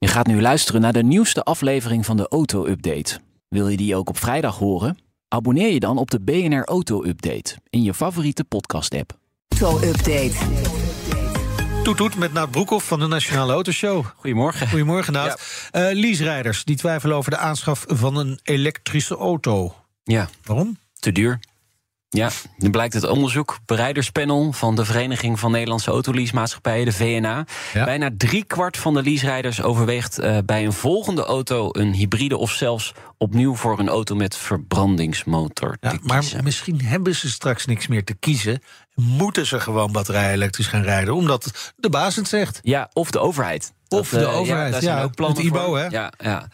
Je gaat nu luisteren naar de nieuwste aflevering van de Auto Update. Wil je die ook op vrijdag horen? Abonneer je dan op de BNR Auto Update in je favoriete podcast-app. Auto-update. Toet toet met Naad Broekhoff van de Nationale Autoshow. Goedemorgen. Goedemorgen Naad. Eh leaserijders die twijfelen over de aanschaf van een elektrische auto. Ja, Waarom? te duur. Ja, nu blijkt het onderzoek bereiderspanel van de Vereniging van Nederlandse Autoleasemaatschappijen, de VNA. Ja. Bijna driekwart van de leaserijders overweegt eh, bij een volgende auto een hybride of zelfs opnieuw voor een auto met verbrandingsmotor. Ja, te maar kiezen. misschien hebben ze straks niks meer te kiezen. Moeten ze gewoon batterij-elektrisch gaan rijden, omdat de baas het zegt. Ja, of de overheid. Of de eh, overheid, daar zijn ja, ook plannen het IBO, voor. hè? Ja, ja.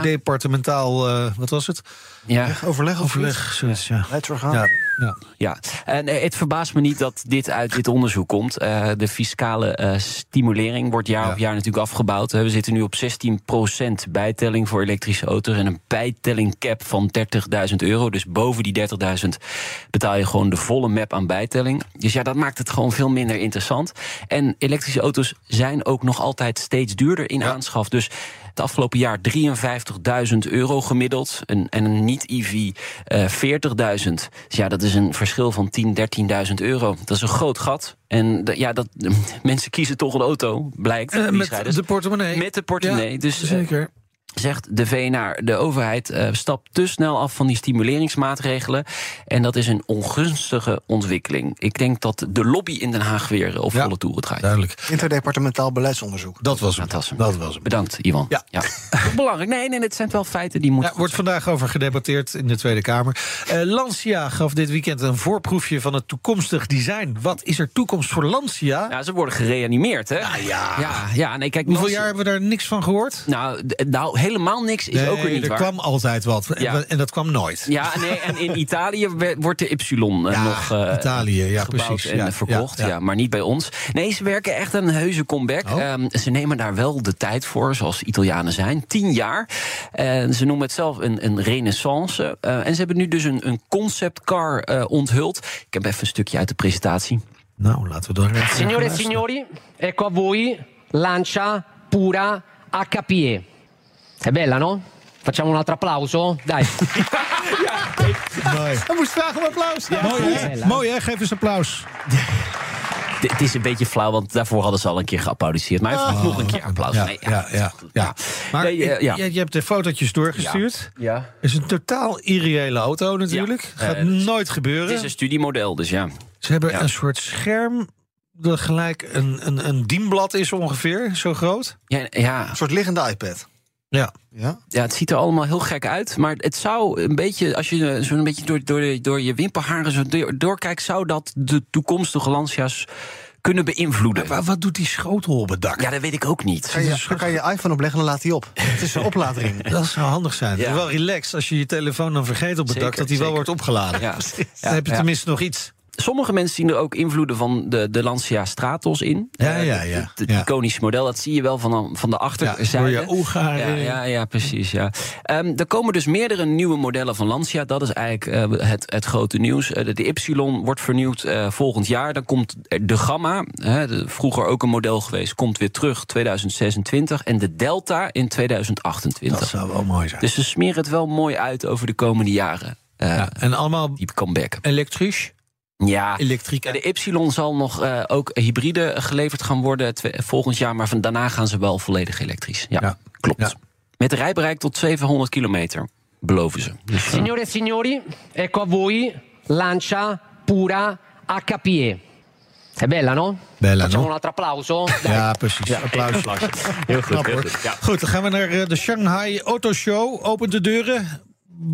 Interdepartementaal, eh, wat was het? Ja, ja. Overleg, overleg, zoiets, ja. Ja, ja. Ja, en eh, het verbaast me niet dat dit uit dit onderzoek komt. Eh, de fiscale eh, stimulering wordt jaar Ja. op jaar natuurlijk afgebouwd. Eh, We zitten nu op 16% bijtelling voor elektrische auto's en een bijtelling cap van 30.000 euro. Dus boven die 30.000 betaal je gewoon de volle map aan bijtelling. Dus ja, dat maakt het gewoon veel minder interessant. En elektrische auto's zijn ook nog altijd steeds duurder in aanschaf. Dus het afgelopen jaar 53.000 euro gemiddeld. Een, en een niet-EV eh 40.000. Dus ja, dat is een verschil van 10.000, 13.000 euro. Dat is een groot gat. En d- ja, dat, mensen kiezen toch een auto, blijkt. Eh, met leaserijders. de portemonnee. Met de portemonnee. Ja, dus eh, zeker. zegt de VNR, de overheid eh, stapt te snel af van die stimuleringsmaatregelen. En dat is een ongunstige ontwikkeling. Ik denk dat de lobby in Den Haag weer eh, op Ja. volle toeren draait. Duidelijk. Interdepartementaal beleidsonderzoek. Dat was hem. Dat was hem. Dat was hem. Bedankt, Iwan. Ja. Belangrijk. Nee, nee, het zijn wel feiten die Ja, moeten. wordt vandaag over gedebatteerd in de Tweede Kamer. Eh, Lancia gaf dit weekend een voorproefje van het toekomstig design. Wat is er toekomst voor Lancia? Ja, ze worden gereanimeerd, hè? Ah, ja. ja, ja, nee, kijk. Hoeveel Nancy- jaar hebben we daar niks van gehoord? Nou, d- nou, helemaal niks is ook weer Nee, niet er waar. kwam altijd wat. En Ja. we- En dat kwam nooit. Ja, nee, en in Italië we- wordt de Y eh, Ja, nog eh, Italië, ja, gebouwd precies. en Ja, verkocht. ja, Ja, ja. maar niet bij ons. Nee, ze werken echt aan een heuse comeback. Oh. Ehm, ze nemen daar wel de tijd voor, zoals Italianen zijn. Tien jaar. En ze noemen het zelf een, een renaissance. Eh, en ze hebben nu dus een, een conceptcar eh, onthuld. Ik heb even een stukje uit de presentatie. Nou, laten we dan even gaan Signore e luisteren. signori, ecco a voi Lancia Pura HPE. È bella, no? Facciamo un altro applauso? Dai. Mooi. Hij moest vragen om applaus. Mooi, hè? Mooi, hè? Geef eens applaus. D- Het is een beetje flauw, want daarvoor hadden ze al een keer geapplaudisseerd. Maar even nog een keer applaus. Oh. Ja, Nee, ja, ja. ja. Maar Nee, eh, ik- ja. Je, je hebt de fotootjes doorgestuurd. ja. Het is een totaal irreële auto natuurlijk. Ja. Gaat Eh, het is- nooit gebeuren. Het is een studiemodel, dus ja. Ze hebben Ja. een soort scherm dat gelijk een, een, een dienblad is ongeveer, zo groot. Ja, ja, Een soort liggende iPad. Ja. Ja? ja, het ziet er allemaal heel gek uit. Maar het zou een beetje, als je eh, zo'n beetje door, door, door je wimperharen zo door- doorkijkt, zou dat de toekomstige Lancia's kunnen beïnvloeden. Maar wat doet die schotel op het dak? Ja, dat weet ik ook niet. Kan je, daar kan je je iPhone opleggen en dan laat hij op. Het is een opladering. Dat zou handig zijn. Ja. Wel relaxed als je je telefoon dan vergeet op het Zeker, dak, dat die wel zeker. wordt opgeladen. Ja. Dan heb je Ja. tenminste nog iets. Sommige mensen zien er ook invloeden van de, de Lancia Stratos in. Ja, Eh, ja, ja. Het het Ja. iconische model, dat zie je wel van, van de Ja, achterzijde. door je ogen. Ja, ja, ja precies. Ja. Ehm, er komen dus meerdere nieuwe modellen van Lancia. Dat is eigenlijk eh, het, het grote nieuws. Eh, de, de Y wordt vernieuwd eh, volgend jaar. Dan komt de Gamma, hè, de- vroeger ook een model geweest, komt weer terug 2026. En de Delta in 2028. Dat zou wel mooi zijn. Dus ze smeren het wel mooi uit over de komende jaren. Eh, Ja, en allemaal Die comeback. elektrisch, Ja. elektrica. De e- Y zal nog eh, ook hybride geleverd gaan worden twe- volgend jaar, maar van daarna gaan ze wel volledig elektrisch. Ja, Ja. klopt. Ja. Met een rijbereik tot 700 kilometer, beloven ze. Dus, eh, Signore e signori, ecco a voi Lancia Pura HPE. È bella, no? Bella, Facciamo no? un altro applauso? Dai. Ja, precies. Applaus. heel Knap, hoor. Goed, dan gaan we naar eh, de Shanghai Auto Show. Opent de deuren.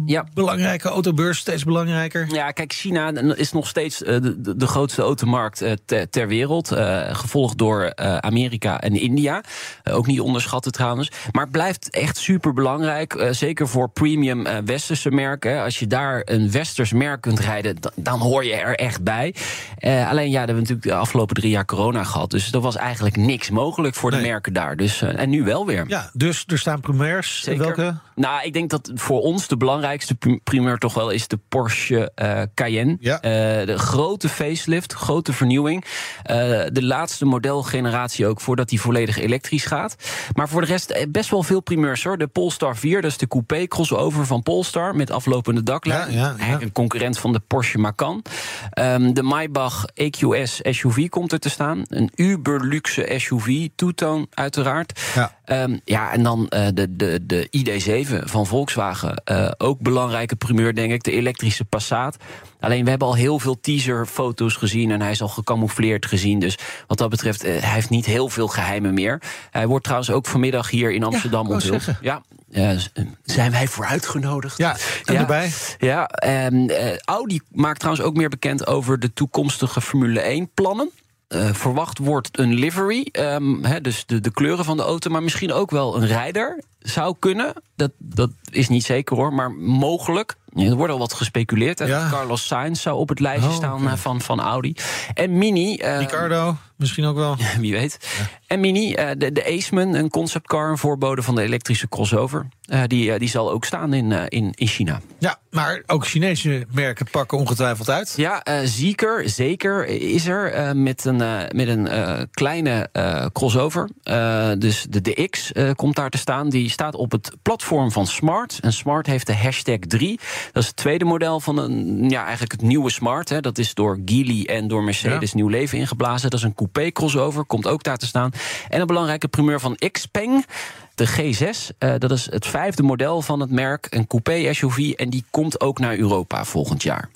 Ja. belangrijke autobeurs, steeds belangrijker. Ja, kijk, China is nog steeds eh, de, de- de grootste automarkt eh, ter, ter wereld. eh, gevolgd door eh, Amerika en India. Eh, ook niet onderschatten trouwens. Maar het blijft echt super belangrijk. zeker voor premium eh, westerse merken. Als je daar een westers merk kunt rijden, dan, dan hoor je er echt bij. Eh, alleen ja, we hebben we natuurlijk de afgelopen drie jaar corona gehad. Dus er was eigenlijk niks mogelijk voor de Nee. merken daar. Dus, eh, en nu wel weer. Ja, dus er staan primairs. Zeker. Welke? Nou, ik denk dat voor ons de belangrijkste prim- primeur toch wel is de Porsche eh, Cayenne. Ja. Eh, de grote facelift, grote vernieuwing. Eh, de laatste modelgeneratie ook voordat die volledig elektrisch gaat. Maar voor de rest eh, best wel veel primeurs hoor. De Polestar 4, dat is de coupé crossover van Polestar met aflopende daklijn. Ja, ja, ja. Eigenlijk een concurrent van de Porsche Macan. Ehm, de Maybach EQS SUV komt er te staan. Een uberluxe SUV, toetoon uiteraard. Ja. Ehm, ja, en dan eh, de, de, de ID7 van Volkswagen. Eh, ook belangrijke primeur, denk ik. De elektrische Passat. Alleen we hebben al heel veel teaserfoto's gezien. En hij is al gecamoufleerd gezien. Dus wat dat betreft, eh, hij heeft niet heel veel geheimen meer. Hij wordt trouwens ook vanmiddag hier in Amsterdam wou onthuld. zeggen. Ja, eh, z- zijn wij vooruitgenodigd? Ja, en Ja. erbij. Ja, ehm, eh, Audi maakt trouwens ook meer bekend over de toekomstige Formule 1-plannen. Eh, verwacht wordt een livery, ehm, hè, dus de, de kleuren van de auto, maar misschien ook wel een rijder. Zou kunnen, dat, dat is niet zeker hoor, maar mogelijk. Ja, Er wordt al wat gespeculeerd. hè. Ja. Carlos Sainz zou op het lijstje Oh, staan oké. eh, van, van Audi. En Mini. eh, Ricardo, misschien ook wel. wie weet. En Mini, eh, de, de Aceman, een conceptcar, een voorbode van de elektrische crossover. Eh, die, eh, die zal ook staan in, eh, in, in China. Ja, maar ook Chinese merken pakken ongetwijfeld uit. Ja, eh Zeker, zeker is er eh, met een, eh, met een eh, kleine eh, crossover. Eh, dus de, de X eh, komt daar te staan. Die staat op het platform van Smart. En Smart heeft de hashtag 3. Dat is het tweede model van een, ja, eigenlijk het nieuwe Smart. Hè. Dat is door Geely en door Mercedes nieuw leven ingeblazen. Dat is een coupé crossover, komt ook daar te staan. En een belangrijke primeur van Xpeng. De G6, eh, dat is het vijfde model van het merk, een coupé SUV. En die komt ook naar Europa volgend jaar.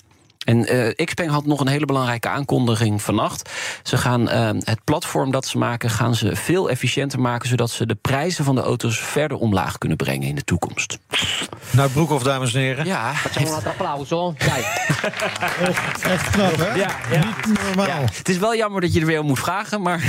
En eh Xpeng had nog een hele belangrijke aankondiging vannacht. Ze gaan eh, het platform dat ze maken, gaan ze veel efficiënter maken, zodat ze de prijzen van de auto's verder omlaag kunnen brengen in de toekomst. Nou, Broekhoff, dames en heren. Ja, Facciamo un altro applauso. Dai. Echt knap, hè? Niet normaal. het is wel jammer dat je er weer om moet vragen, maar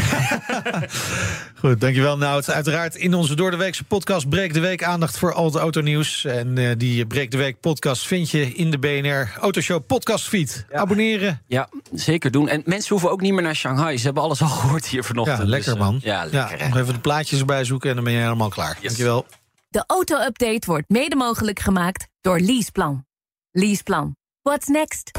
Goed, dankjewel Nout. Uiteraard in onze door de weekse podcast Breek de Week aandacht voor al het autonieuws. En eh, die Breek de Week podcast vind je in de BNR Autoshow podcast feed. Abonneren. ja, zeker doen. En mensen hoeven ook niet meer naar Shanghai. Ze hebben alles al gehoord hier Ja, vanochtend. lekker Dus, eh, man. Ja, lekker. hè. nog even de plaatjes erbij zoeken en dan ben je helemaal klaar. Dankjewel. De auto-update wordt mede mogelijk gemaakt door Leaseplan. Leaseplan. What's next?